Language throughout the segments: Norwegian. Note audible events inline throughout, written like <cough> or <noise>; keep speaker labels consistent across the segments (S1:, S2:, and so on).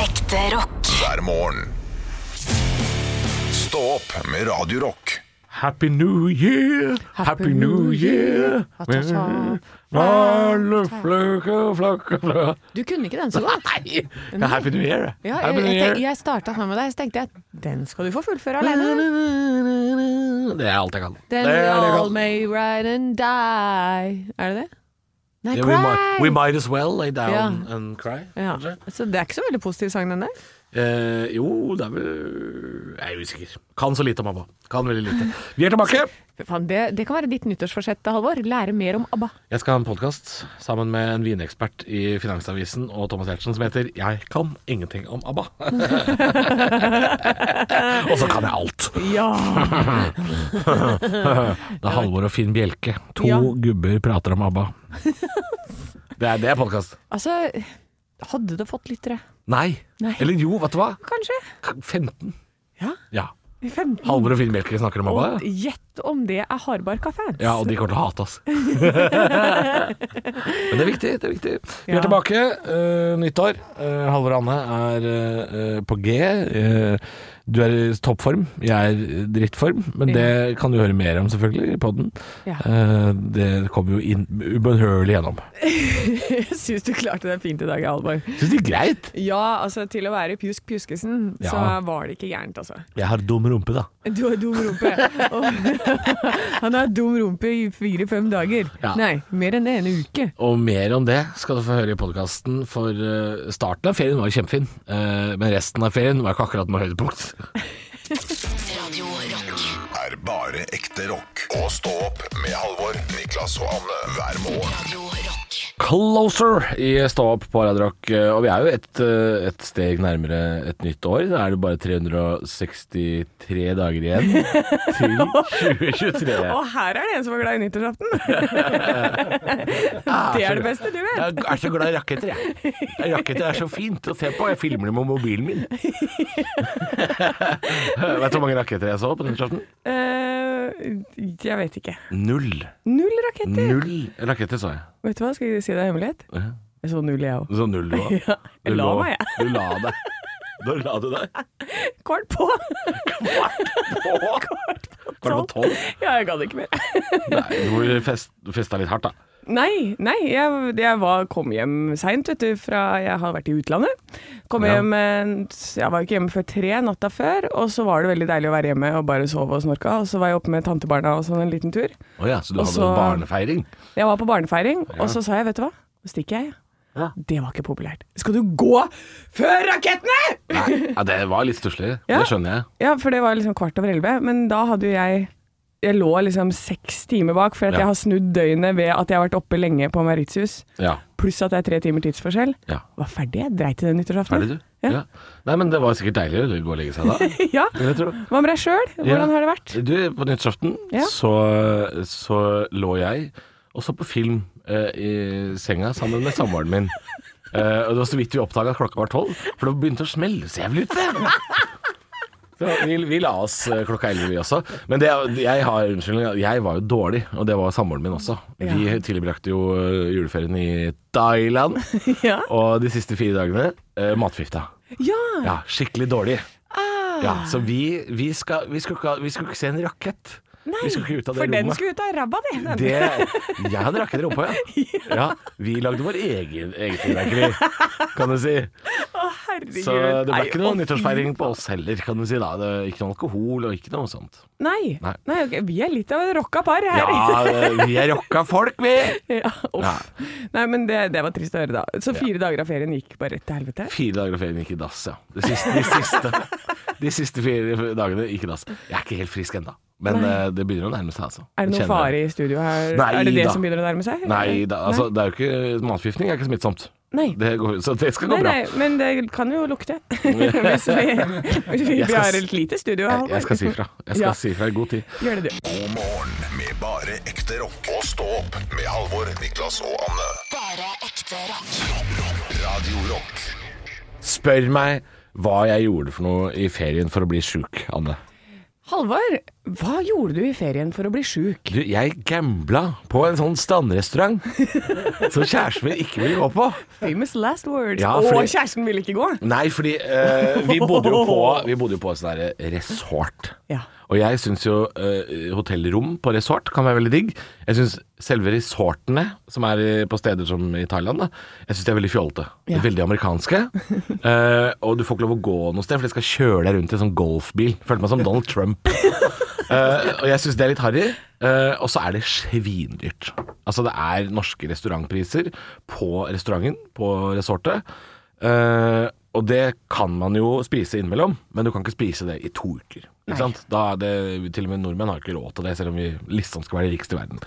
S1: Ekte rock.
S2: hver morgen. Stå opp med Radio Rock.
S3: Happy New Year, Happy, New Year.
S4: Ta-ta-ta.
S3: Alle flakker, flakker, flakker.
S4: Du kunne ikke den så godt.
S3: <laughs> Nei! Det er Happy New Year.
S4: Ja,
S3: Happy
S4: jeg,
S3: New
S4: jeg,
S3: Year.
S4: jeg starta sammen med deg, så tenkte jeg at den skal du få fullføre alene.
S3: Det er alt jeg kan.
S4: Then
S3: det er Mm.
S4: we
S3: det jeg
S4: all
S3: kan.
S4: may ride and die. Er det det? Nei,
S3: Yeah, we, might, we
S4: cry!
S3: might as well lay down
S4: Ja.
S3: and cry.
S4: Ja.
S3: kanskje?
S4: Så det er ikke så veldig positiv sang, den der.
S3: Eh, jo, det er vel Jeg er usikker. Kan så lite om ABBA. Kan veldig lite. Vi er tilbake!
S4: Fy faen, Det, det kan være ditt nyttårsforsett, Halvor. Lære mer om ABBA.
S3: Jeg skal ha en podkast sammen med en vinekspert i Finansavisen og Thomas Giertsen som heter 'Jeg kan ingenting om ABBA'. <laughs> og så kan jeg alt!
S4: Ja!
S3: Det er Halvor og Finn Bjelke. To
S4: Ja.
S3: gubber prater om
S4: <laughs>
S3: ABBA. Det er, det er podkast.
S4: <laughs> Altså, hadde det fått lyttere?
S3: Nei.
S4: Nei.
S3: Eller jo, vet du hva?
S4: Kanskje?
S3: 15.
S4: Ja.
S3: Ja.
S4: I 15?
S3: Halvor og Finn Bjelke snakker om ABBA.
S4: Og gjett om det er hardbarka-fans.
S3: Ja, og de kommer til å hate oss. Men det er viktig. det er viktig Vi er
S4: Ja.
S3: tilbake. eh, nyttår. Uh, Halvor Anne er eh, på G. Eh, du er i toppform, jeg er i drittform. Men det kan du høre mer om selvfølgelig i podden.
S4: Ja.
S3: Eh, det kommer jo inn ubønnhørlig gjennom.
S4: <laughs> Jeg syns du klarte det fint i dag, Halvor.
S3: Syns det er greit?
S4: Ja, altså til å være Pjusk Pjuskesen, så
S3: Ja.
S4: var det ikke gærent, altså.
S3: Jeg har dum rumpe, da.
S4: Du har
S3: <laughs>
S4: dum rumpe. Og han har dum rumpe i fire-fem dager.
S3: Ja.
S4: Nei, mer enn ene uke.
S3: Og mer om det skal du få høre i podkasten, for eh, starten av ferien var jo kjempefin. eh, men resten av ferien var ikke akkurat noe høydepunkt.
S1: Radio Rock.
S2: Er bare ekte rock. Og stå opp med Halvor, Niklas og Anne hver morgen.
S1: Radio Rock.
S3: Closer i Stå opp på Radio Rock. Og vi er jo et, eh, et steg nærmere et nytt år. Da er det bare 363 dager
S4: <laughs>
S3: igjen til 2023.
S4: Og her er det en som var glad i nyttårsaften! det er det beste du vet.
S3: Jeg er så glad i
S4: <laughs>
S3: raketter, jeg. Raketter er så fint å se på. Jeg filmer det med mobilen
S4: <laughs>
S3: min. Vet du hvor mange raketter jeg så på nyttårsaften?
S4: Eh, jeg vet ikke.
S3: Null.
S4: Null raketter.
S3: Null raketter så jeg.
S4: Vet du hva, skal jeg si deg en hemmelighet?
S3: Ja.
S4: Jeg så null, jeg òg.
S3: Så null du var.
S4: <laughs> Ja, jeg
S3: Du
S4: la
S3: lå-
S4: meg, jeg.
S3: Du la deg. Da la du deg.
S4: Kvart på! <laughs>
S3: Kvart på tolv.
S4: Ja, jeg gadd ikke mer.
S3: Nei, du må fest, festa litt hardt, da.
S4: Nei, nei, jeg, jeg var, kom hjem seint, vet du, fra jeg har vært i utlandet. Kom
S3: Ja.
S4: hjem, eh, jeg var ikke hjemme før tre natta før, og så var det veldig deilig å være hjemme og bare sove og snorka. Og så var jeg oppe med tantebarna og sånn en liten tur.
S3: Å ja, så du
S4: Og
S3: hadde
S4: så-
S3: en barnefeiring?
S4: Jeg var på barnefeiring,
S3: Ja.
S4: og så sa jeg, vet du hva, nå stikker jeg.
S3: Ja.
S4: Det var ikke populært. Skal du gå før rakettene?!
S3: Nei, ja, det var litt stusslig.
S4: Ja.
S3: Det skjønner jeg.
S4: Ja, for det var liksom kvart over elleve, men da hadde jo jeg jeg lå liksom seks timer bak, for at
S3: Ja.
S4: jeg har snudd døgnet ved at jeg har vært oppe lenge på Mauritius,
S3: Ja.
S4: pluss at det er tre timer tidsforskjell.
S3: ja.
S4: Var ferdig, jeg dreit i den nyttårsaften.
S3: Ferdig, du?
S4: Ja.
S3: Ja. Nei, men det var sikkert deilig å gå og legge seg da.
S4: <laughs> Ja.
S3: vil jeg tro.
S4: Hva med deg sjøl? Hvordan
S3: Ja.
S4: har det
S3: <laughs>
S4: vært?
S3: Du, på nyttårsaften
S4: Ja.
S3: så, så lå jeg og så på film eh, i senga sammen med samboeren
S4: <laughs>
S3: min. Eh, og det var så vidt vi oppdaga at klokka var tolv, for det begynte å smelle så jævlig ute. <laughs> Så vi, vi la oss eh, klokka elleve, vi også. Men det, jeg har unnskyldning. Jeg var jo dårlig, og det var samboeren min også. Vi
S4: Ja.
S3: tilbrakte jo eh, juleferien i Thailand,
S4: Ja.
S3: og de siste fire dagene eh, matforgifta.
S4: ja. Ah,
S3: Ja, skikkelig dårlig. Ja, så vi, vi, skal, vi, skulle ikke, ha- vi skulle ikke se en rakett. Nei, vi skulle ikke ut av det
S4: For den
S3: rommet.
S4: skulle ut av ræva di! den.
S3: Det, jeg hadde rakett i rumpa, ja. ja. Vi lagde vår egen eget fyrverkeri, kan du si.
S4: <laughs> Å, herregud.
S3: Så det ble
S4: Nei,
S3: ikke
S4: å,
S3: noen nyttårsfeiring på oss heller, kan du si. da det, Ikke noe alkohol og ikke noe sånt.
S4: Nei.
S3: Nei.
S4: Nei. ok, Vi er litt av et rocka par her.
S3: Ja, eh, vi er rocka folk, vi!
S4: <laughs> Ja, uff.
S3: Ja.
S4: Nei, men det, det var trist å høre, da. Så fire dager av ferien gikk bare rett til helvete?
S3: Fire dager av ferien gikk i dass, ja. De siste, de siste, de siste fire dagene gikk i dass. Jeg er ikke helt frisk ennå, men eh, det begynner å nærme seg, altså.
S4: Er det
S3: Jeg
S4: noen
S3: kjenner
S4: fare i studio her?
S3: Nei
S4: er det det
S3: da.
S4: som begynner å nærme seg?
S3: Nei, da, altså, det er jo ikke matforgiftning er ikke smittsomt.
S4: Nei.
S3: Det går, så det skal gå
S4: Nei,
S3: bra.
S4: nei, men det kan jo lukte. <laughs> hvis vi, <laughs> hvis vi,
S3: Jeg skal
S4: har
S3: s-
S4: et lite studio.
S3: Jeg,
S4: Halvor.
S3: jeg skal si fra. Jeg skal
S4: Ja.
S3: si fra i god tid.
S4: Gjør det, du.
S2: God morgen med bare ekte rock. Og stå opp med Halvor, Niklas og Anne.
S1: Bare ekte rock.
S2: Radio Rock
S3: Spør meg hva jeg gjorde for noe i ferien for å bli sjuk, Anne.
S4: Halvor, Hva gjorde du i ferien for å bli sjuk?
S3: Du, jeg gambla på en sånn standrestaurant som kjæresten min ikke ville gå på.
S4: Famous last words.
S3: Ja,
S4: Å,
S3: fordi-
S4: kjæresten ville ikke gå!
S3: Nei, fordi eh, vi bodde jo
S4: <laughs>
S3: på Vi bodde jo på et sånt der resort.
S4: Ja.
S3: Og jeg syns jo eh, hotellrom på resort kan være veldig digg. Jeg syns selve resortene, som er i, på steder som i Thailand, da, jeg syns de er veldig fjollete.
S4: Ja.
S3: Veldig
S4: <laughs>
S3: amerikanske. Eh, og du får ikke lov å gå noe sted, for de skal kjøre deg rundt i en sånn golfbil. Følte meg som Donald Trump. Eh, og jeg syns det er litt harry. Eh, og så er det svindyrt. Altså det er norske restaurantpriser på restauranten, på resortet. Eh, og det kan man jo spise innimellom, men du kan ikke spise det i to uker. Ikke sant? Da er det, til og med nordmenn har ikke råd til det, selv om vi liksom skal være de rikeste i verden.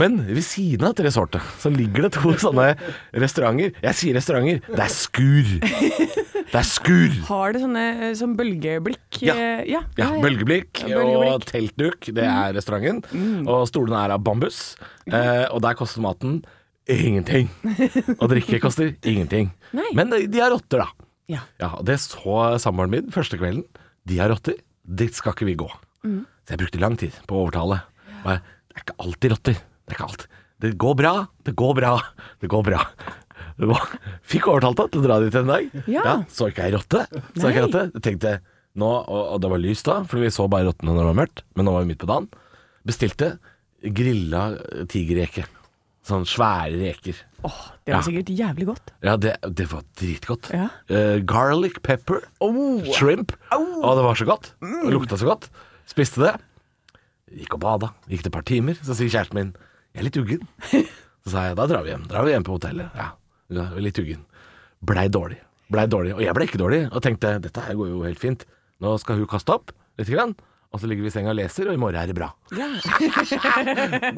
S3: Men ved siden av dette resortet så ligger det to sånne restauranter. Jeg sier restauranter, det er skur! Det er skur!
S4: Har det sånne eh, sånn bølgeblikk?
S3: Ja.
S4: eh, ja,
S3: Ja, Bølgeblikk,
S4: Ja, bølgeblikk. Mm.
S3: og teltduk, det er restauranten. Og stolene er av bambus. Eh, og der koster maten
S4: <laughs>
S3: ingenting. Og drikke koster ingenting.
S4: Nei.
S3: Men de de har rotter, da.
S4: Ja.
S3: Ja, og Det så samboeren min første kvelden. De har rotter, dit skal ikke vi gå.
S4: Mm.
S3: Så jeg brukte lang tid på å overtale. Og jeg, det er ikke alltid rotter. Det er ikke alt. Det går bra, det går bra, det går bra. <laughs> Det var- Fikk overtalt henne til å dra dit en dag.
S4: Ja.
S3: så ikke ei rotte. Så ikke ei rotte. Jeg tenkte nå, og, og det var lyst da, fordi vi så bare rottene når det var mørkt, men nå var vi midt på dagen. Bestilte grilla tigerreke. Sånn svære reker.
S4: Åh, det var
S3: Ja.
S4: sikkert jævlig godt.
S3: Ja, det, det var dritgodt.
S4: Ja.
S3: Eh, garlic pepper, shrimp. Å, det var så godt. Det lukta så godt. Spiste det. Gikk og bada. Gikk det et par timer. Så sier kjæresten min jeg er litt uggen. Så sa jeg da drar vi hjem. Drar vi hjem på hotellet. Ja, ja jeg er litt uggen. Blei dårlig. Blei dårlig. Og jeg blei ikke dårlig. Og tenkte dette her går jo helt fint. Nå skal hun kaste opp lite grann. Og så ligger vi i senga og leser, og i morgen er det bra.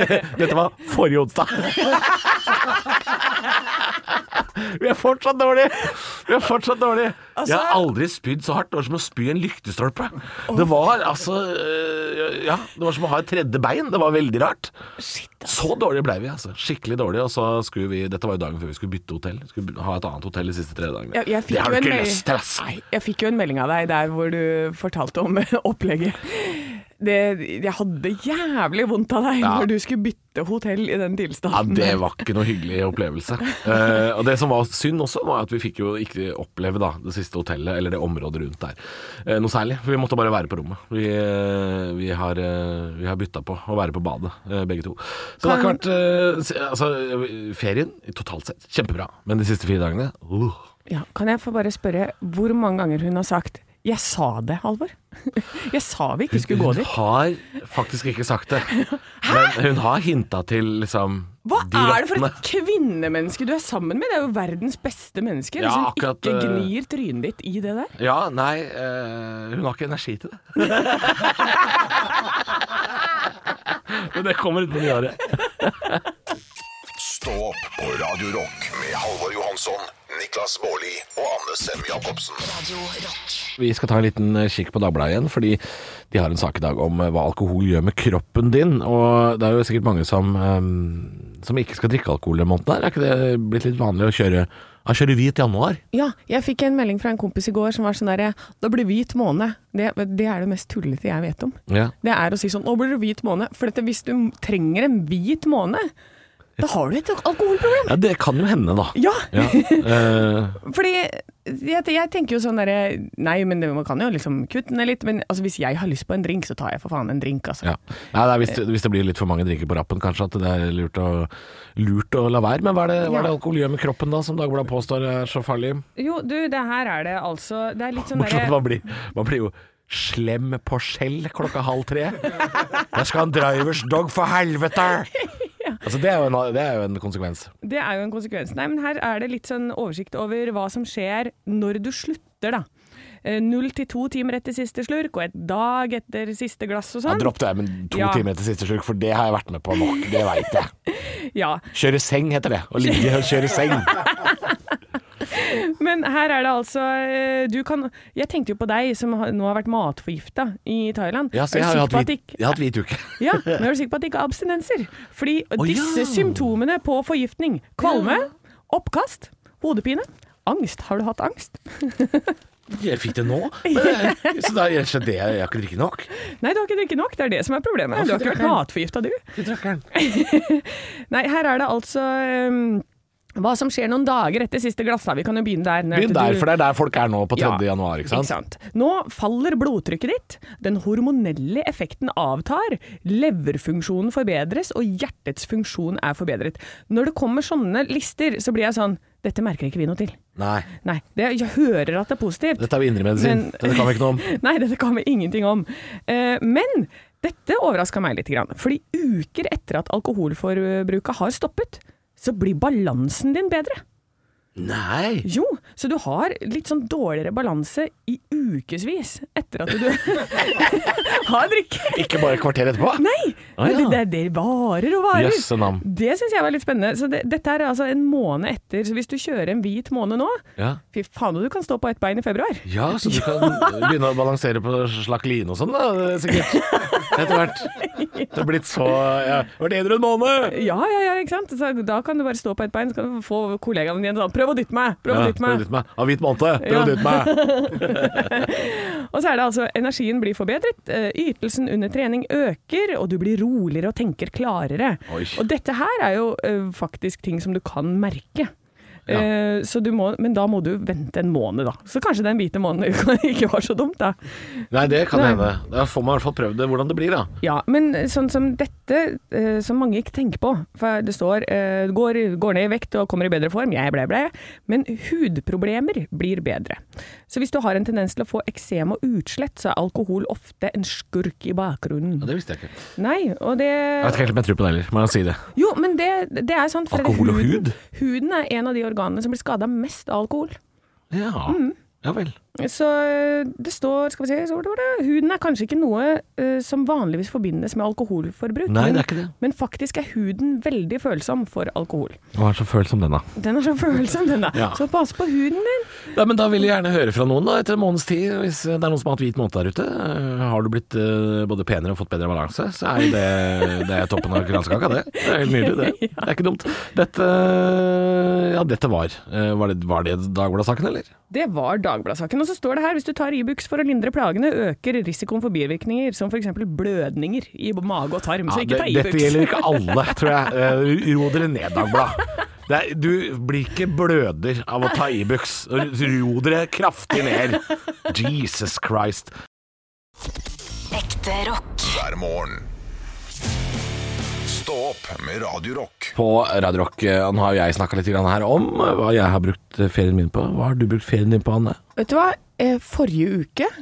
S3: det, dette var forrige onsdag. Vi er fortsatt dårlige! Vi er fortsatt dårlige.
S4: Altså-
S3: jeg har aldri spydd så hardt. Det var som å spy i en lyktestolpe. Det var altså øh, Ja, det var som å ha et tredje bein. Det var veldig rart. Så dårlige blei vi, altså. Skikkelig dårlige. Og så skulle vi Dette var jo dagen før vi skulle bytte hotell. Skulle by- ha et annet hotell de siste tre dagene.
S4: Jeg- jeg fikk
S3: det har
S4: jo
S3: du
S4: en
S3: ikke
S4: mail-
S3: lyst til, altså. ass!
S4: Nei, jeg fikk jo en melding av deg der hvor du fortalte om <laughs> opplegget. Det, jeg hadde jævlig vondt av deg
S3: Ja.
S4: når du skulle bytte hotell i
S3: Ja,
S4: den tilstanden.
S3: det var ikke noe hyggelig opplevelse. Eh, og det som var synd også, var at vi fikk jo ikke oppleve da, det siste hotellet, eller det området rundt der, eh, noe særlig. For vi måtte bare være på rommet. Vi, eh, vi har, eh, vi har bytta på å være på badet, eh, begge to. Så det har ikke vært eh, se- Altså, ferien totalt sett kjempebra, men de siste fire dagene uh.
S4: Ja, kan jeg få bare spørre hvor mange ganger hun har sagt 'jeg sa det, Halvor'? <laughs> jeg sa vi ikke skulle gå
S3: Hun
S4: dit.
S3: har faktisk ikke sagt det, men hun har hinta til liksom
S4: Hva
S3: de
S4: er det for
S3: rottene.
S4: et kvinnemenneske du er sammen med? Det er jo verdens beste
S3: Ja,
S4: menneske. hvis hun
S3: akkurat,
S4: ikke
S3: eh,
S4: gnir trynet ditt i det der.
S3: Ja, nei, eh, hun har ikke energi til det. <laughs> Men det kommer utpå nyåret.
S2: Stå opp på Radio Rock med Halvor Johansson, Niklas Baarli og Anne Sem Jacobsen.
S5: Radio Rock.
S3: Vi skal ta en liten eh, kikk på Dagbladet igjen, fordi de har en sak i dag om eh, hva alkohol gjør med kroppen din. Og det er jo sikkert mange som, eh, som ikke skal drikke alkohol denne måneden. her. Er ikke det blitt litt vanlig å kjøre, ja, kjøre hvit januar?
S4: Ja, jeg fikk en melding fra en kompis i går som var sånn derre 'da blir det hvit måned'. Det, det er det mest tullete jeg vet om.
S3: Ja.
S4: Det er å si sånn 'nå blir det hvit måned'. For dette, hvis du trenger en hvit måned, da har du et alkoholproblem.
S3: ja, det kan jo hende, da.
S4: Ja!
S3: <laughs> Ja, eh,
S4: Fordi jeg, jeg tenker jo sånn derre Nei, men det, man kan jo liksom kutte ned litt. Men altså, hvis jeg har lyst på en drink, så tar jeg for faen en drink, altså.
S3: Ja. Nei, det er hvis, det, hvis det blir litt for mange drinker på rappen, kanskje at det er lurt å, lurt å la være. Men hva er, det, hva er det alkohol gjør med kroppen da, som Dagbladet påstår er så farlig?
S4: Jo, du, det her er det altså Det er litt sånn
S3: Bortsett fra at
S4: derre
S3: man blir, man blir jo slem på skjell klokka halv tre. Jeg skal ha en drivers dog, for helvete! Altså, det, er jo en, det er jo en konsekvens.
S4: Det er jo en konsekvens. Nei, men her er det litt sånn oversikt over hva som skjer når du slutter, da. Eh, Null til to timer etter siste slurk, og et dag etter siste glass og
S3: Jeg
S4: sånn.
S3: dropp det, men to
S4: Ja.
S3: timer etter siste slurk, for det har jeg vært med på nok. Det veit jeg.
S4: Ja.
S3: Kjøre seng heter det. Å ligge og kjøre seng.
S4: Men her er det altså eh, Du kan Jeg tenkte jo på deg som har- nå har vært matforgifta i Thailand.
S3: Ja, så jeg
S4: Er
S3: har
S4: du
S3: jo
S4: sikker
S3: hatt
S4: på at
S3: hvit,
S4: det ikke-
S3: jeg har hatt hvit uke.
S4: Ja, men er du sikker på at det ikke er abstinenser? Fordi disse
S3: ja.
S4: symptomene på forgiftning Kvalme, oppkast, hodepine, angst. Har du hatt angst?
S3: Jeg fikk det nå. Men, så da er det rett og slett det jeg, jeg har ikke drikket nok.
S6: Nei, du har ikke drukket nok. Det er det som er problemet.
S4: Altså,
S6: Du har ikke vært matforgifta, du.
S3: Jeg drakk den.
S6: Nei, her er det altså ehm, hva som skjer noen dager etter siste glassa. Vi kan jo begynne der.
S3: Begynn der, for det er der folk er nå på 3.
S6: Ja,
S3: januar. Ikke sant?
S6: Nå faller blodtrykket ditt, den hormonelle effekten avtar, leverfunksjonen forbedres, og hjertets funksjon er forbedret. Når det kommer sånne lister, så blir jeg sånn Dette merker ikke vi noe til.
S3: Nei.
S6: Nei, det, jeg hører at det er positivt.
S3: Dette er jo indremedisin.
S6: Men-
S3: Dette kan vi ikke noe om.
S6: <laughs> Nei, dette kan vi ingenting om. Eh, men dette overraska meg litt. Grann, fordi uker etter at alkoholforbruket har stoppet, så blir balansen din bedre.
S3: Nei.
S6: Jo, så du har litt sånn dårligere balanse i ukevis etter at du <laughs> har drikke.
S3: Ikke bare et kvarter etterpå?
S6: Nei,
S3: Å, ja.
S6: men det, det det varer og varer.
S3: Jøsse navn.
S6: Det syns jeg var litt spennende. Så det, dette er altså en måned etter. Så hvis du kjører en hvit måned nå,
S3: Ja.
S6: fy faen du kan stå på ett bein i februar.
S3: Ja, så du kan begynne å balansere på slakk line og sånn, da, sikkert. Etter hvert. Det har blitt så ja, Vært edru en måned!
S6: Ja, ja, ja, ikke sant? Så da kan du bare stå på ett bein, så kan du få kollegaene dine sånn Prøv å dytte meg! Prøv
S3: Ja,
S6: å dytte meg!
S3: dytte meg. Av hvit måned. Prøv å
S6: Ja.
S3: dytte meg.
S6: Og så er det altså energien blir forbedret, eh, ytelsen under trening øker, og du blir roligere og tenker klarere.
S3: Oi.
S6: Og dette her er jo eh, faktisk ting som du kan merke.
S3: Ja.
S6: Eh, så du må, men da må du vente en måned, da. Så kanskje den hvite måneden <laughs> ikke var så dumt, da.
S3: Nei, det kan
S6: Nei.
S3: hende. Da får man i hvert fall prøvd det, hvordan det blir, da.
S6: Ja, men sånn som dette, eh, som mange ikke tenker på For det står eh, går, 'går ned i vekt og kommer i bedre form', jeg ble, ble. Men hudproblemer blir bedre. Så hvis du har en tendens til å få eksem og utslett, så er alkohol ofte en skurk i bakgrunnen.
S3: Ja, det visste jeg ikke.
S6: Nei, og
S3: Jeg vet
S6: det
S3: ikke helt om jeg tror på det heller, må jeg si det.
S6: Jo, men det, det er sant. for
S3: Alkohol og
S6: huden-
S3: hud?
S6: Huden er en av de organene som blir skada mest av alkohol. Mm.
S3: Ja, ja vel.
S6: Så øh, det står Skal vi se så var det- var det, Huden er kanskje ikke noe øh, som vanligvis forbindes med alkoholforbruk.
S3: Nei,
S6: men,
S3: det er ikke det.
S6: men faktisk er huden veldig følsom for alkohol.
S3: Hva er det så følsom den, da?
S6: Den er så følsom, den da.
S3: Ja.
S6: Så pass på huden din.
S3: Ja, men Da vil jeg gjerne høre fra noen da, etter en måneds tid. Hvis det er noen som har hatt hvit måned der ute. Eh, Har du blitt eh, både penere og fått bedre balanse, så er jo det, det er toppen av kransekaka, det. Det er helt nydelig,
S6: <laughs>
S3: det. Det er ikke dumt. Dette Ja, dette var. Eh, Var det, var det Dagbladet-saken, eller?
S6: Det var Dagbladet-saken. Og så står det her hvis du tar Ibux for å lindre plagene, øker risikoen for bivirkninger som f.eks. blødninger i mage og tarm. så
S3: Ja,
S6: ikke ta
S3: det-
S6: Ibux.
S3: dette
S6: <laughs>
S3: gjelder ikke alle, tror jeg. Eh, Ro dere ned, Dagbladet. Det er, du blir ikke bløder av å ta Ibux. Ro dere kraftig ned. Jesus Christ.
S1: Ekte rock.
S2: hver morgen. Stå opp med Radio Rock.
S3: på Radio Rock. eh, Nå har jo jeg snakka litt grann her om eh, hva jeg har brukt eh, ferien min på. Hva har du brukt ferien din på, Anne?
S4: Vet du hva, eh, forrige uke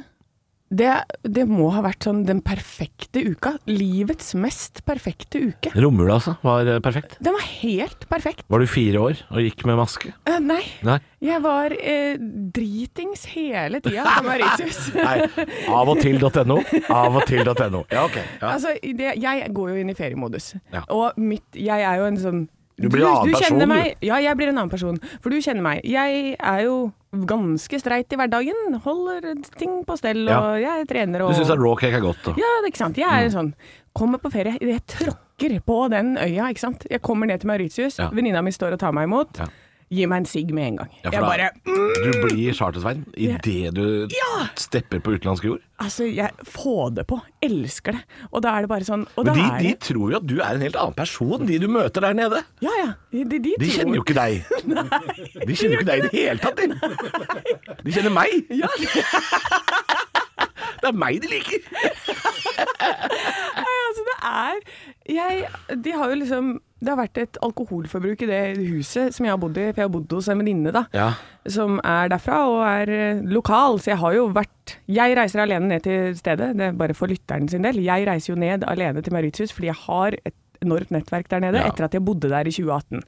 S4: det, det må ha vært sånn den perfekte uka. Livets mest perfekte uke.
S3: Romjula, altså. Var eh, perfekt.
S4: Den var helt perfekt.
S3: Var du fire år og gikk med maske?
S4: Eh, nei,
S3: Nei.
S4: jeg var eh, dritings hele tida på Mauritius.
S3: <laughs> Nei. Av og til.no. Av og til.no. Ja, ok. Ja.
S4: Altså, det, jeg går jo inn i feriemodus.
S3: Ja.
S4: Og mitt, jeg er jo en sånn
S3: Du blir en annen person,
S4: kjenner
S3: du.
S4: meg, Ja, jeg blir en annen person. For du kjenner meg. Jeg er jo ganske streit i hverdagen. Holder ting på stell, og jeg trener og
S3: Du syns raw cake er Mm. godt, da?
S4: Ja, det er ikke sant. Jeg er sånn Kommer på ferie, jeg tråkker på den øya, ikke sant. Jeg kommer ned til Mauritius,
S3: Ja.
S4: venninna mi står og tar meg imot.
S3: Ja.
S4: Gi meg en sigg med en gang.
S3: Ja, for
S4: jeg
S3: da-
S4: bare mm!
S3: Du blir chartersveien idet du stepper på utenlandsk jord.
S4: Altså, jeg får det på. Elsker det. Og da er det bare sånn og
S3: Men
S4: da
S3: de,
S4: er
S3: de
S4: det,
S3: tror jo at du er en helt annen person, de du møter der nede.
S4: Ja, ja. De, de, de,
S3: De
S4: tror-
S3: kjenner jo ikke deg. De kjenner jo ikke deg i det hele tatt, de. De kjenner meg. Det er meg de liker.
S4: Nei, altså, det er jeg, De har jo liksom Det har vært et alkoholforbruk i det huset som jeg har bodd i, for jeg har bodd hos en venninne, da.
S3: Ja.
S4: Som er derfra og er eh, lokal, så jeg har jo vært Jeg reiser alene ned til stedet, det er bare for lytteren sin del. Jeg reiser jo ned alene til Mauritius fordi jeg har et enormt nettverk der nede
S3: Ja.
S4: etter at jeg bodde der i 2018.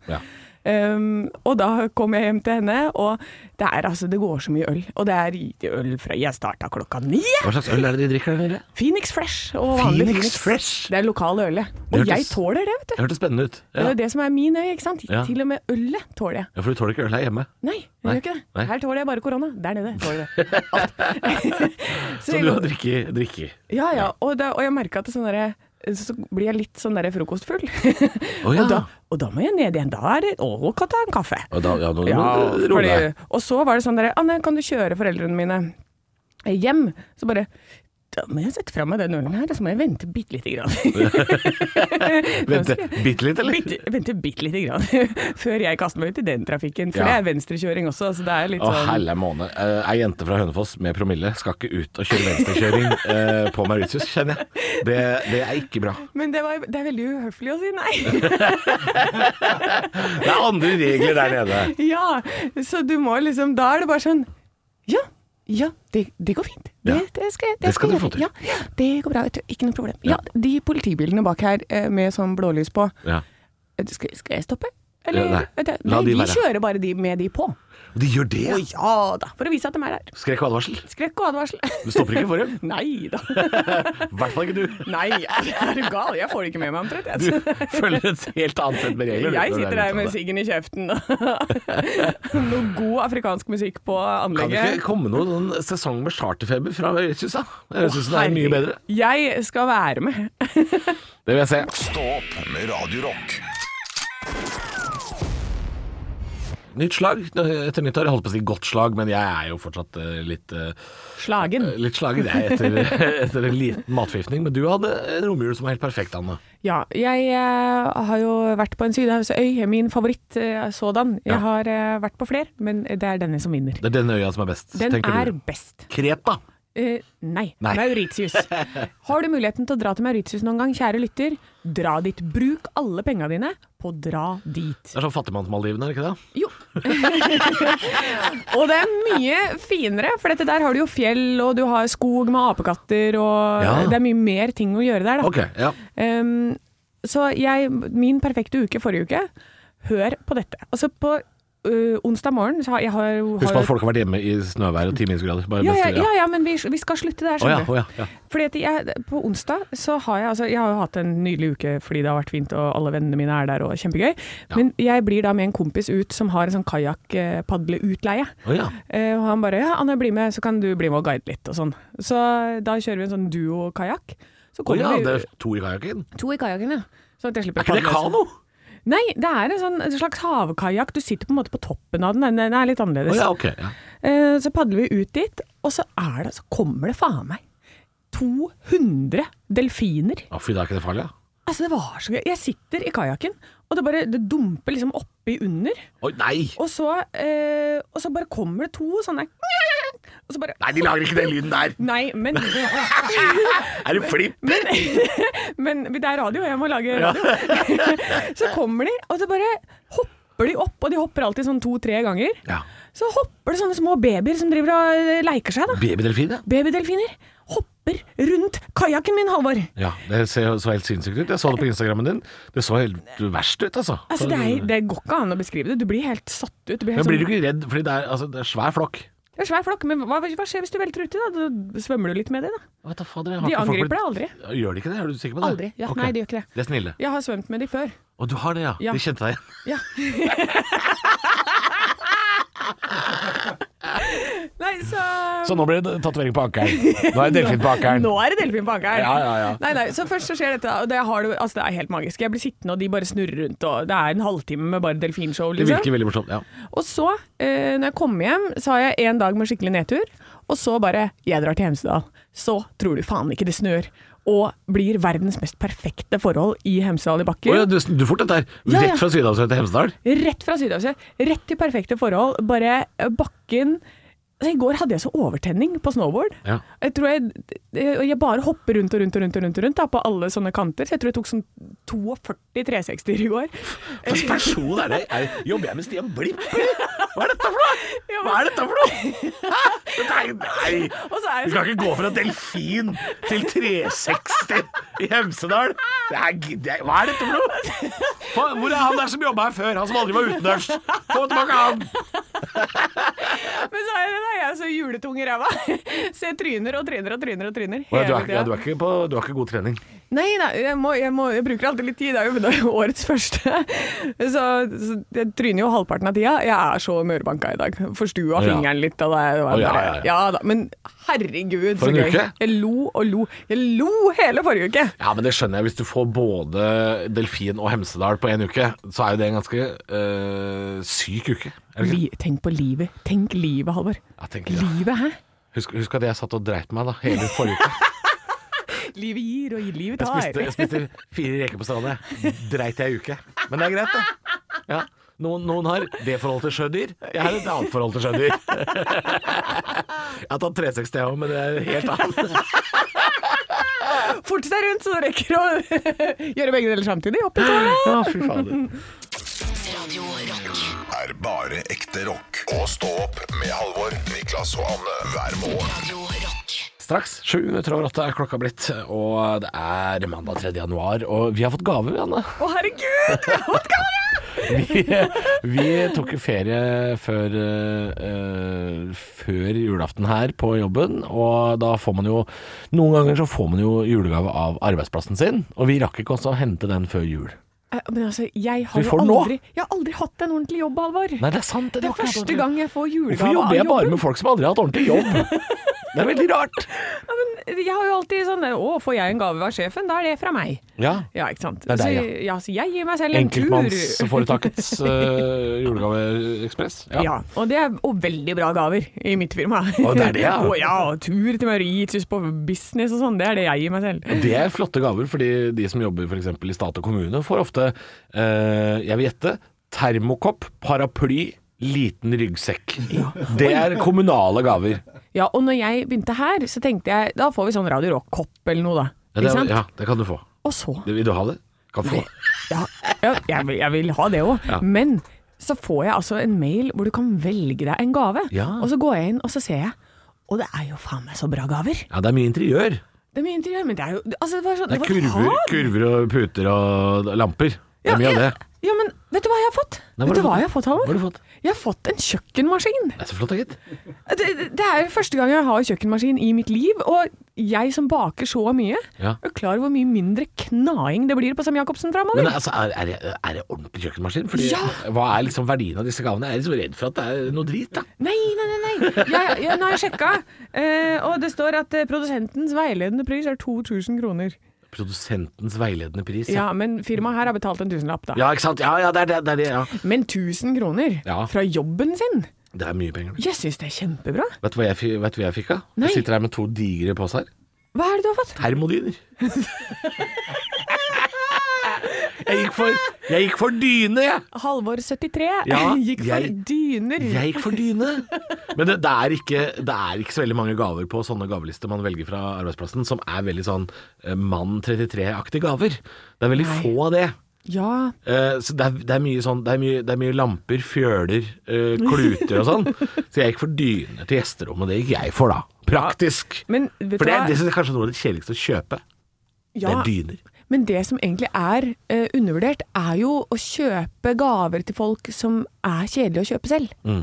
S4: Um, og da kom jeg hjem til henne, og det er altså Det går så mye øl. Og det er i- øl fra jeg starta klokka ni!
S3: Hva slags øl er det de drikker der nede?
S4: Phoenix Fresh og vanlig
S3: Phoenix
S4: Phoenix.
S3: Fresh?
S4: Det er lokal øl, ja.
S3: Det
S4: Og
S3: hørtes-
S4: jeg tåler det, vet du.
S3: Det hørtes spennende ut.
S4: Det er
S3: Ja.
S4: jo det som er min øy, ikke sant.
S3: Ja.
S4: Til og med ølet tåler jeg.
S3: Ja, for du tåler ikke øl her hjemme.
S4: Nei, jeg
S3: Nei.
S4: gjør ikke det.
S3: Nei.
S4: Her tåler jeg bare korona. Der nede tåler jeg
S3: <laughs>
S4: det. Alt.
S3: Så
S4: jeg
S3: du har
S4: går-
S3: drikket drikke.
S4: Ja, ja. Og, da, og jeg merka at det sånn derre så blir jeg litt sånn der frokostfull.
S3: Å, ja.
S4: og, da, og da må jeg ned igjen. Da er det Å, kan ta en kaffe.
S3: Og da, ja, nå
S4: Ja,
S3: må du roe
S4: fordi,
S3: deg.
S4: og så var det sånn derre Anne, kan du kjøre foreldrene mine hjem? Så bare da må jeg sette fra meg den ølen her, og så må jeg vente bitte lite grann.
S3: Vent, bitte litt, eller?
S4: Bitte, vente bitte lite grann <laughs> før jeg kaster meg ut i den trafikken. For
S3: Ja.
S4: det er venstrekjøring også, så det er litt
S3: Å,
S4: sånn
S3: helle måne. Eh, Ei jente fra Hønefoss med promille skal ikke ut og kjøre venstrekjøring eh, på Mauritius, kjenner jeg. Det, det er ikke bra.
S4: Men det, var, det er veldig uhøflig å si nei.
S3: <laughs>
S4: <laughs>
S3: Det er andre regler der nede.
S4: ja, så du må liksom Da er det bare sånn Ja, ja, det, det går fint. Det,
S3: Ja.
S4: det skal jeg
S3: Det skal du
S4: jeg
S3: få
S4: gjøre.
S3: til.
S4: Ja, det går bra. vet du. Ikke noe problem. Ja, de politibilene bak her eh, med sånn blålys på. eh,
S3: Ja.
S4: Skal, skal jeg stoppe? Eller,
S3: Ja, nei.
S4: Vet du,
S3: La
S4: nei,
S3: de
S4: de,
S3: være.
S4: kjører bare de med de på.
S3: De gjør det,
S4: Å
S3: ja.
S4: ja da, for å vise at de er der.
S3: Skrekk og advarsel.
S4: Skrekk og advarsel.
S3: Du stopper ikke for dem.
S4: <laughs> Nei da.
S3: <laughs> I hvert fall ikke du.
S4: Nei, er er du gal? Jeg får det ikke med meg omtrent.
S3: Du
S4: jeg.
S3: følger et helt annet sett med regler.
S4: Jeg sitter her med siggen i kjeften og <laughs> noe god afrikansk musikk på
S3: Kan det ikke
S4: anlegget.
S3: komme noen sånn sesong med charterfeber fra Mauritius, da? Jeg syns det er mye bedre.
S4: Jeg skal være med. <laughs>
S3: Det vil jeg se.
S2: Stå opp med Radio Rock.
S3: Nytt slag etter nyttår. Jeg holdt på å si godt slag, men jeg er jo fortsatt eh, litt eh,
S4: Slagen.
S3: Litt slagen jeg etter, <laughs> etter en liten matforgiftning, men du hadde en romjul som var helt perfekt, Anne.
S4: Ja, jeg eh, har jo vært på en sydhavsøy, min favoritt eh, sådan. Jeg
S3: Ja.
S4: har eh, vært på flere, men det er denne som vinner.
S3: Det er den øya som er best,
S4: Den
S3: tenker
S4: er
S3: du.
S4: best.
S3: Kreta.
S4: Eh, nei.
S3: Nei.
S4: Mauritius. Har du muligheten til å dra til Mauritius noen gang, kjære lytter, dra dit. Bruk alle penga dine på å dra dit.
S3: Det er sånn fattigmannsmaldivene, er det ikke det?
S4: Jo. <laughs> og det er mye finere, for dette der har du jo fjell, og du har skog med apekatter, og
S3: Ja.
S4: det er mye mer ting å gjøre der, da.
S3: Ok, ja.
S4: Ehm, så jeg, min perfekte uke forrige uke, hør på dette. Altså på øh, onsdag morgen så har jeg har,
S3: Husk på
S4: har
S3: at folk har vært hjemme i snøvær og ti minusgrader. Bare
S4: ja, ja,
S3: mens-
S4: ja, ja, men vi, vi skal slutte der,
S3: Å ja,
S4: skjønner du.
S3: å ja, ja.
S4: Fordi at jeg, på onsdag så har jeg altså, Jeg har jo hatt en nydelig uke fordi det har vært fint og alle vennene mine er der og kjempegøy. Men jeg blir da med en kompis ut som har en sånn kajakkpadleutleie.
S3: Å ja.
S4: Eh, og han bare 'ja, Anne, bli med, så kan du bli med og guide litt' og sånn. Så da kjører vi en sånn duo-kajakk. Så
S3: Å
S4: kommer
S3: ja, det
S4: vi
S3: er to i kajakken.
S4: to i kajakken, ja. Sånn at jeg slipper
S3: Er ikke det
S4: padle.
S3: kano?
S4: Nei, det er en, sånn, en slags havkajakk. Du sitter på en måte på toppen av den. Den- Den er litt
S3: Å
S4: annerledes.
S3: ja, ok. Ja.
S4: Eh, Så padler vi ut dit, og så, er det, så kommer det faen meg 200 delfiner.
S3: Å, Fy, da er ikke det farlig, ja.
S4: Altså, det var så gøy. Jeg sitter i kajakken, og det bare det dumper liksom oppi under.
S3: Oi, nei!
S4: Og så, eh, og så bare kommer det to sånne og så bare,
S3: Nei, de lager ikke den lyden der!
S4: Nei, men
S3: Er det flipp?
S4: <laughs> Men det er radio, jeg må lage radio. <laughs> så kommer de, og så bare hopper de opp, og de hopper alltid sånn to-tre ganger.
S3: Ja.
S4: Så hopper det sånne små babyer som driver og eh, leker seg, da.
S3: Babydelfin, ja.
S4: Babydelfiner hopper rundt kajakken min, Halvor.
S3: ja. Det ser jo så helt sinnssykt ut. Jeg så det på Instagrammen din. Det så helt verst ut, altså.
S4: Altså, det, er, det går ikke an å beskrive det. Du blir helt satt ut. Du
S3: Men
S4: blir helt
S3: blir du
S4: sånn,
S3: ikke redd, fordi det er, altså, det er svær flokk?
S4: det er svær flokk, men hva, hva skjer hvis du velter uti, da? Da svømmer du litt med dem, da.
S3: Vet da fader, jeg har
S4: De
S3: ikke folk
S4: angriper
S3: blitt-
S4: deg aldri.
S3: Gjør de ikke det? Er du sikker på det?
S4: Aldri. Ja,
S3: Ok.
S4: Nei, de gjør ikke det.
S3: De er snille.
S4: Jeg har svømt med de før.
S3: Og du har det, ja.
S4: Ja.
S3: De kjente deg igjen. <laughs>
S4: Ja. Nei, så
S3: Så nå blir det tatovering på ankelen. Nå er det delfin på ankelen.
S4: <laughs> Nå er det delfin på ankeren.
S3: Ja, ja, ja.
S4: Nei, nei, så først så skjer dette, og det, har du, altså det er helt magisk. Jeg blir sittende, og de bare snurrer rundt, og det er en halvtime med bare delfinshow.
S3: Det
S4: Liksom.
S3: virker veldig morsomt. Ja.
S4: Og så, eh, når jeg kom hjem, så har jeg en dag med skikkelig nedtur, og så bare Jeg drar til Hemsedal. Så tror du faen ikke det snør. Og blir verdens mest perfekte forhold i Hemsedal i bakken.
S3: Å ja, du, du fort dette her.
S4: Ja, ja.
S3: Rett fra Sydhavsøy til Hemsedal.
S4: Rett fra Sydhavsøy. Rett til perfekte forhold. Bare eh, bakken altså, I går hadde jeg så overtenning på snowboard.
S3: Ja.
S4: Jeg tror jeg, og jeg bare hopper rundt og rundt og rundt, og rundt, og rundt da, på alle sånne kanter. Så jeg tror jeg tok sånn 42 360 i
S3: <laughs>
S4: går.
S3: Hva slags person er det? Er, jobber jeg med Stian Blipp, eller? Hva er dette for noe? Hva er dette for noe? Hæ? Nei, nei.
S4: Og så er
S3: Du
S4: jeg
S3: skal ikke gå fra delfin til 360 i Hemsedal. Det er, gidder jeg- hva er dette for noe? Fa- Hvor er han der som jobba her før? Han som aldri var utendørs. Få tilbake han.
S4: Men så er jeg, da, jeg jeg så juletung i ræva. <laughs> Så jeg tryner og tryner og tryner og tryner
S3: Å, ja, du,
S4: hele
S3: er, ikke- ja, du, er ikke på, du har ikke god trening.
S4: Nei da, jeg, må, jeg, må, jeg bruker alltid litt tid. Det er jo det er jo årets første. <laughs> Så, så jeg tryner jo halvparten av tida. Jeg er så mørbanka i dag.
S3: Å,
S4: Forstua
S3: ja.
S4: fingeren litt. Og det, det var
S3: Å, ja,
S4: bare,
S3: ja, ja.
S4: da, men herregud,
S3: For en
S4: så gøy.
S3: uke.
S4: Jeg lo og lo. Jeg lo hele forrige uke.
S3: Ja, men det skjønner jeg. Hvis du får både delfin og Hemsedal på én uke, så er jo det en ganske øh, syk uke. Er det ikke?
S4: Li, tenk på livet. Tenk livet, Halvor.
S3: Ja, tenk litt, da.
S4: Livet, hæ?
S3: Husk, husk at jeg satt og dreit meg da, hele forrige uke.
S4: Livet gir, og livet
S3: Jeg spiste,
S4: tar. <laughs>
S3: jeg spiste fire reker på stranda. jeg. Dreit jeg i uke. Men det er greit, det. Ja. Noen, noen har det forholdet til sjødyr. Jeg har et annet forhold til sjødyr. Jeg har tatt 360 jeg òg, men det er helt annet.
S4: Forte deg rundt, så du rekker å <laughs> gjøre begge deler samtidig. Opp i tårnet.
S3: Å, fy fader.
S1: Radio Rock.
S2: er bare ekte rock. Og stå opp med Halvor, Niklas og Anne hver morgen.
S1: Radio Rock.
S3: Straks sju minutter over åtte er klokka blitt, og det er mandag 3. januar. Og vi har fått gave, Anne.
S4: Å, herregud! Jeg har fått gave!
S3: Vi, vi tok jo ferie før, eh, før julaften her på jobben, og da får man jo Noen ganger så får man jo julegave av arbeidsplassen sin, og vi rakk ikke også å hente den før jul.
S4: Eh, Men altså, jeg
S3: Vi
S4: har jo
S3: får den nå.
S4: aldri, jeg har aldri hatt en ordentlig jobb, Halvor.
S3: Nei, det er sant.
S4: Det er
S3: var ikke
S4: første
S3: ordentlig.
S4: gang jeg får julegave
S3: Hvorfor jobber jeg
S4: av
S3: bare
S4: jobben?
S3: med folk som aldri har hatt ordentlig jobb? Det er veldig rart.
S4: Ja, men jeg har jo alltid sånn Å, får jeg en gave av sjefen? Da er det fra meg.
S3: Ja.
S4: Ja, ikke sant.
S3: er deg,
S4: så, ja, så jeg gir meg selv en tur.
S3: Enkeltmannsforetakets eh, julegaveekspress.
S4: Ja. og det er og veldig bra gaver i mitt firma.
S3: Å, det er det, ja.
S4: Å, ja, <laughs> og tur til Mauritius på business og sånn, det er det jeg gir meg selv.
S3: Det er flotte gaver, fordi de som jobber f.eks. i stat og kommune, får ofte, eh, jeg vil gjette, termokopp, paraply, liten ryggsekk. Det er kommunale gaver.
S4: Ja, og når jeg begynte her, så tenkte jeg da får vi sånn Radio Rock-kopp eller noe, da.
S3: Ja, det,
S4: Ikke
S3: er-
S4: sant?
S3: ja, det kan du få.
S4: Og så
S3: Det, vil du ha det? Kan få.
S4: Ja, ja jeg, vil, jeg vil ha det òg.
S3: Ja.
S4: Men så får jeg altså en mail hvor du kan velge deg en gave.
S3: Ja.
S4: Og så går jeg inn, og så ser jeg. Og det er jo faen meg så bra gaver!
S3: Ja, det er mye interiør.
S4: Det er mye interiør, men det er jo altså, det var sånn,
S3: Det er
S4: var
S3: kurver,
S4: hard.
S3: kurver og puter og lamper. Det
S4: Ja,
S3: er mye av det.
S4: Ja, ja, men vet du hva jeg har fått?
S3: Nei, hva
S4: vet
S3: har
S4: du
S3: du
S4: hva
S3: fått?
S4: jeg har fått,
S3: Hva har
S4: Halvor?
S3: du fått?
S4: Jeg har fått en kjøkkenmaskin!
S3: Det er så flott, da, gitt.
S4: Det, det er jo første gang jeg har kjøkkenmaskin i mitt liv, og jeg som baker så mye,
S3: Ja.
S4: er klar over hvor mye mindre knaing det blir på Sam Jacobsen
S3: Men
S4: framover.
S3: altså, er, er, det- er det ordentlig kjøkkenmaskin? Fordi,
S4: Ja.
S3: Hva er liksom verdien av disse gavene? Jeg er liksom redd for at det er noe drit, da.
S4: Nei, nei, nei, nei. Jeg, jeg, nå har jeg sjekka, eh, og det står at eh, produsentens veiledende pris er 2000 kroner.
S3: Produsentens veiledende pris, ja.
S4: Ja, men firmaet her har betalt en tusenlapp, da.
S3: Ja, ikke sant? Ja, ja, det er det. det, er det ja.
S4: Men 1000 kroner
S3: Ja.
S4: fra jobben sin?
S3: Det er mye penger.
S4: Jeg syns det er kjempebra.
S3: Vet du hva jeg, fi- vet du hva jeg fikk av?
S4: Nei.
S3: Jeg sitter her med to digre poser.
S4: Hva er det du har fått?
S3: Termodyner. jeg, gikk for, jeg gikk for dyne, jeg.
S4: Halvor 73
S3: Ja,
S4: <laughs> gikk for
S3: jeg-
S4: dyner.
S3: Jeg gikk for dyne. Men det, det, er ikke, det er ikke så veldig mange gaver på sånne gavelister man velger fra arbeidsplassen, som er veldig sånn eh, mann 33-aktige gaver. Det er veldig få av det.
S4: Ja,
S3: Eh, så det er, det, er mye sånn, det, er mye, det er mye lamper, fjøler, eh, kluter og
S4: <laughs>
S3: sånn. Så jeg gikk for dyner til gjesterommet. Det gikk jeg for, da. Praktisk.
S4: men vet
S3: For
S4: du
S3: det,
S4: hva?
S3: det synes jeg kanskje er noe av det kjedeligste å kjøpe. Det
S4: ja,
S3: er dyner.
S4: men det som egentlig er eh, undervurdert, er jo å kjøpe gaver til folk som er kjedelige å kjøpe selv.
S3: Mm.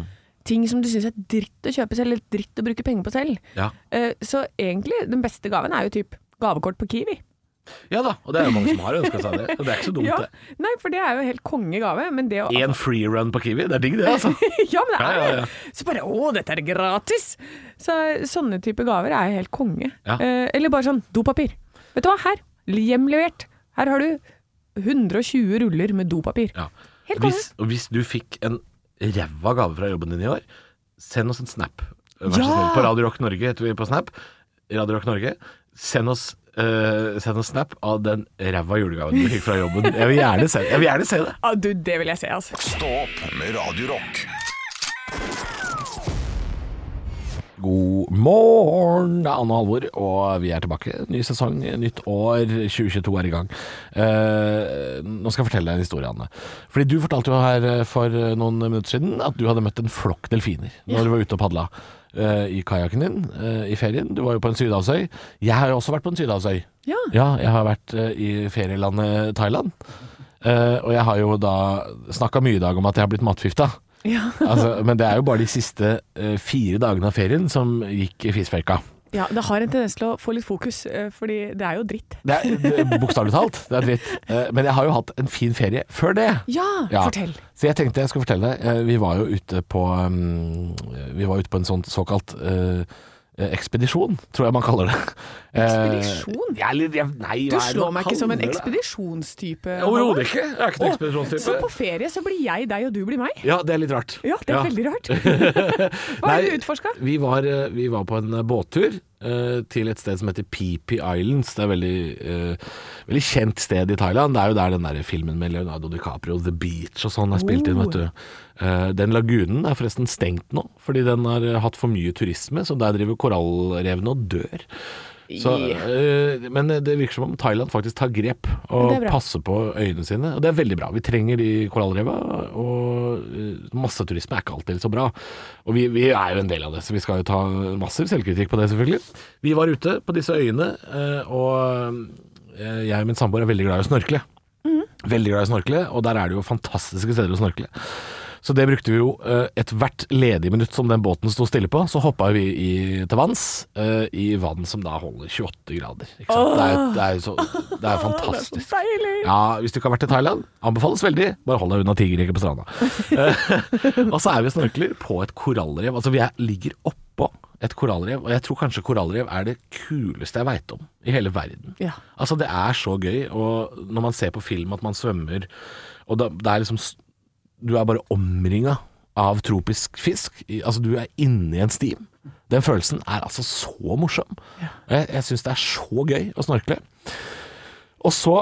S4: Ting som du syns er dritt å kjøpe selv, eller dritt å bruke penger på selv.
S3: Ja.
S4: Eh, så egentlig, den beste gaven er jo typ gavekort på Kiwi.
S3: ja da, og det er jo mange som har ønska seg det. Og det er ikke så dumt,
S4: Ja.
S3: det.
S4: Nei, for det er jo helt kongegave, men det å
S3: Én free run på Kiwi, det er digg det, altså.
S4: <laughs> Ja, men det
S3: Ja,
S4: er
S3: ja,
S4: det.
S3: ja.
S4: Så bare å, dette er gratis! Så sånne type gaver er helt konge.
S3: Ja.
S4: Eh, eller bare sånn dopapir. Vet du hva, her! Hjemlevert. Her har du 120 ruller med dopapir.
S3: Ja.
S4: Helt konge.
S3: Hvis, og hvis du fikk en ræva gave fra jobben din i år, send oss en snap. Vær så
S4: Ja!
S3: snill. På Radio Rock Norge heter vi på Snap. Radio Rock Norge. Send oss, eh, send oss snap av den ræva julegaven du fikk fra jobben. Jeg vil gjerne se, jeg vil gjerne se det.
S4: Ah, du, det vil jeg se, altså.
S2: Stå opp med Radio Rock.
S3: God morgen, det er Anne og Halvor, og vi er tilbake. Ny sesong, nytt år. 2022 er i gang. Eh, nå skal jeg fortelle deg en historie, Anne. Fordi Du fortalte jo her eh, for noen minutter siden at du hadde møtt en flokk delfiner når du var ute og padla eh, i kajakken din eh, i ferien. Du var jo på en sydhavsøy. Jeg har jo også vært på en sydhavsøy.
S4: Ja.
S3: Ja, jeg har vært eh, i ferielandet Thailand. Eh, og jeg har jo da snakka mye i dag om at jeg har blitt matforgifta. Altså, men det er jo bare de siste eh, fire dagene av ferien som gikk i fisferka.
S4: Ja, det har en tendens til å få litt fokus, eh, fordi det er jo dritt.
S3: Det er det- bokstavelig talt. Det er dritt. Eh, Men jeg har jo hatt en fin ferie før det.
S4: Ja,
S3: Ja.
S4: fortell.
S3: Så jeg tenkte jeg skulle fortelle deg. eh, Vi var jo ute på um, Vi var ute på en sånn såkalt eh, eh, ekspedisjon, tror jeg man kaller det. Eh,
S4: Ekspedisjon?
S3: jeg er litt- jeg- nei,
S4: Du
S3: hva er det
S4: slår
S3: man
S4: meg ikke som en
S3: kaller det?
S4: ekspedisjonstype.
S3: Overhodet ikke. Jeg er ikke en
S4: Å, Så på
S3: ekspedisjonstype.
S4: ferie så blir jeg deg, og du blir meg?
S3: Ja, det er litt rart.
S4: Ja, det er veldig rart. Hva er det du utforska?
S3: Vi var, eh, vi var på en eh, båttur eh, til et sted som heter Phi Islands. Det er et veldig, eh, veldig kjent sted i Thailand. Det er jo der den der filmen med Leonardo DiCaprio, The Beach og sånn, er spilt inn,
S4: Oh.
S3: vet du. Eh, den lagunen er forresten stengt nå, fordi den har eh, hatt for mye turisme, så der driver korallrevene og dør. Så, eh, men det virker som om Thailand faktisk tar grep og
S4: Det er bra.
S3: passer på øyene sine. Og det er veldig bra. Vi trenger de korallreva, og eh, masseturisme er ikke alltid så bra. Og vi, vi er jo en del av det, så vi skal jo ta massiv selvkritikk på det, selvfølgelig. Vi var ute på disse øyene, eh, og eh, jeg og min samboer er veldig glad i å snorkle. Veldig glad i å snorkle, og der er det jo fantastiske steder å snorkle. Så det brukte vi jo eh, ethvert ledig minutt som den båten sto stille på, så hoppa vi i, til vanns, eh, i vann som da holder 28 grader. Ikke sant? Det, er, det, er jo så, det er fantastisk.
S4: Deilig!
S3: Ja, Hvis du ikke har vært i Thailand, anbefales veldig. Bare hold deg unna tigerjeger på stranda. Eh, <laughs> og så er vi og snorkler på et korallrev. Altså, vi er, ligger oppå et korallrev, og jeg tror kanskje korallrev er det kuleste jeg veit om i hele verden.
S4: Ja.
S3: Altså, det er så gøy, og når man ser på film at man svømmer, og da, det er liksom s- Du er bare omringa av tropisk fisk. I- Altså, du er inni en stim. Den følelsen er altså så morsom. Jeg, jeg syns det er så gøy å snorkle. Og så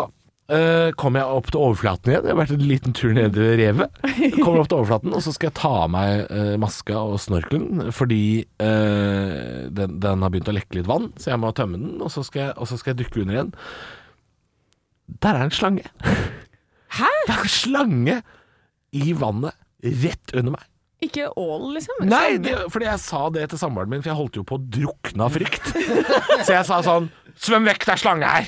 S3: eh, kom jeg opp til overflaten igjen. Jeg har vært en liten tur nede ved revet. Kommer opp til overflaten, og så skal jeg ta av meg eh, maska og snorkelen, fordi eh, den, den har begynt å lekke litt vann, så jeg må tømme den, og så skal jeg, og så skal jeg dykke under igjen. Der er en slange.
S4: Hæ?
S3: Det er en slange i vannet rett under meg.
S4: Ikke ål, liksom?
S3: Nei,
S4: Slange.
S3: det, fordi jeg sa det til samboeren min, for jeg holdt jo på å drukne av frykt. Så jeg sa sånn Svøm vekk, det er slange her!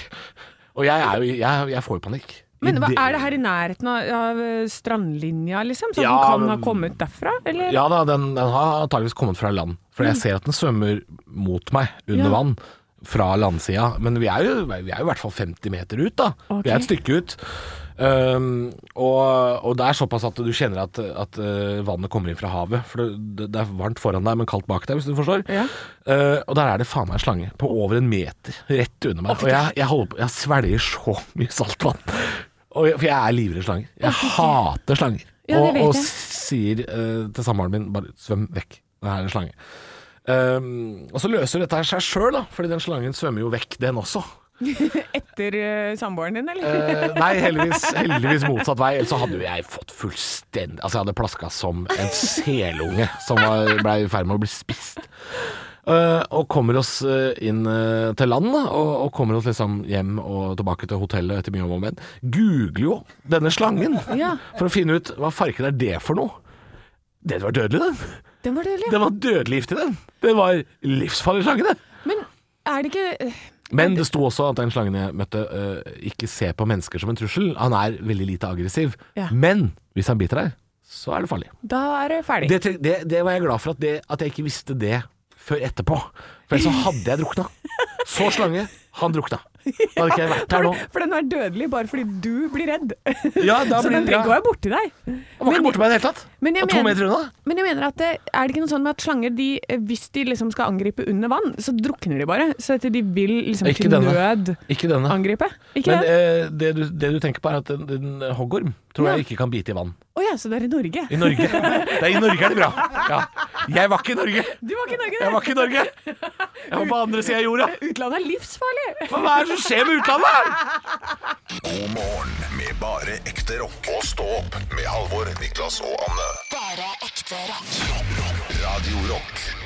S3: Og jeg, er jo, jeg, jeg får jo panikk.
S4: Men hva,
S3: I det-
S4: er det her i nærheten av, av eh, strandlinja, liksom? Så
S3: Ja,
S4: den kan ha
S3: men-
S4: kommet derfra, eller? Mm.
S3: Ja da, den, den har antageligvis kommet fra land. For jeg ser at den svømmer mot meg under
S4: Ja.
S3: vann fra landsida. Men vi er, jo, vi er jo i hvert fall 50 meter ut, da. Vi er et stykke ut. Um, og, og det er såpass at du kjenner at, at uh, vannet kommer inn fra havet. For det, det er varmt foran deg, men kaldt bak deg, hvis du forstår.
S4: Ja.
S3: Uh, og der er det faen meg en slange på over en meter rett under meg. Og jeg, jeg, holder på, jeg svelger så mye saltvann. Og jeg, for jeg er livredd slanger. Jeg hater slanger.
S4: Ja, det
S3: og,
S4: vet
S3: og
S4: jeg.
S3: sier eh, til samboeren min bare svøm vekk, det her er en slange. Ehm, og så løser dette her seg sjøl, da, fordi den slangen svømmer jo vekk, den også.
S4: Etter eh, samboeren din, eller?
S3: Eh, nei, heldigvis, heldigvis motsatt vei, ellers så hadde jo jeg fått fullstendig Altså, jeg hadde plaska som en selunge som var- ble i ferd med å bli spist. Eh, og kommer oss eh, inn eh, til land, da, og, og kommer oss liksom hjem og tilbake til hotellet etter mye om og men. Googler jo denne slangen
S4: Ja.
S3: for å finne ut hva farken er det for noe. Den var dødelig, den.
S4: Den var dødelig.
S3: Den var dødelig giftig, den. Den var livsfarlig slange, det.
S4: Men er det ikke eh,
S3: Men det sto også at den slangen jeg møtte, øh, ikke se på mennesker som en trussel. Han er veldig lite aggressiv.
S4: Ja.
S3: Men hvis han biter deg, så er det farlig.
S4: Da er det ferdig.
S3: Det, det, det var jeg glad for at, det, at jeg ikke visste det før etterpå. For ellers så hadde jeg drukna. Så slange, han drukna. Da hadde ikke jeg vært her nå.
S4: For den er dødelig bare fordi du blir redd.
S3: Ja, da
S4: <laughs> Så
S3: blir-
S4: den
S3: ja.
S4: trenger å være borti deg.
S3: Han var ikke borte meg i det hele tatt.
S4: Men jeg
S3: Og to
S4: mener-
S3: meter unna.
S4: Men jeg mener at det, er det ikke noe sånn med at slanger, de, eh, hvis de liksom skal angripe under vann, så drukner de bare. Så at de vil liksom
S3: Ikke
S4: til
S3: denne.
S4: nød
S3: Ikke denne.
S4: angripe. Ikke
S3: Men
S4: det?
S3: eh, det, du, det du tenker på, er at en, en hoggorm tror
S4: Ja.
S3: jeg ikke kan bite i vann.
S4: Å ja, så det er i Norge.
S3: I Norge. Nei, I Norge er det bra. Ja. Jeg var ikke i Norge.
S4: Du var ikke i Norge,
S3: Jeg var ikke i Norge. Jeg var på andre sida av jorda.
S4: Utlandet er livsfarlig!
S3: Men hva er det som skjer med utlandet?
S2: God morgen med bare ekte rock. Og stå opp med Halvor, Niklas og Anne.
S1: Bare ekte rock.
S2: Radio Rock.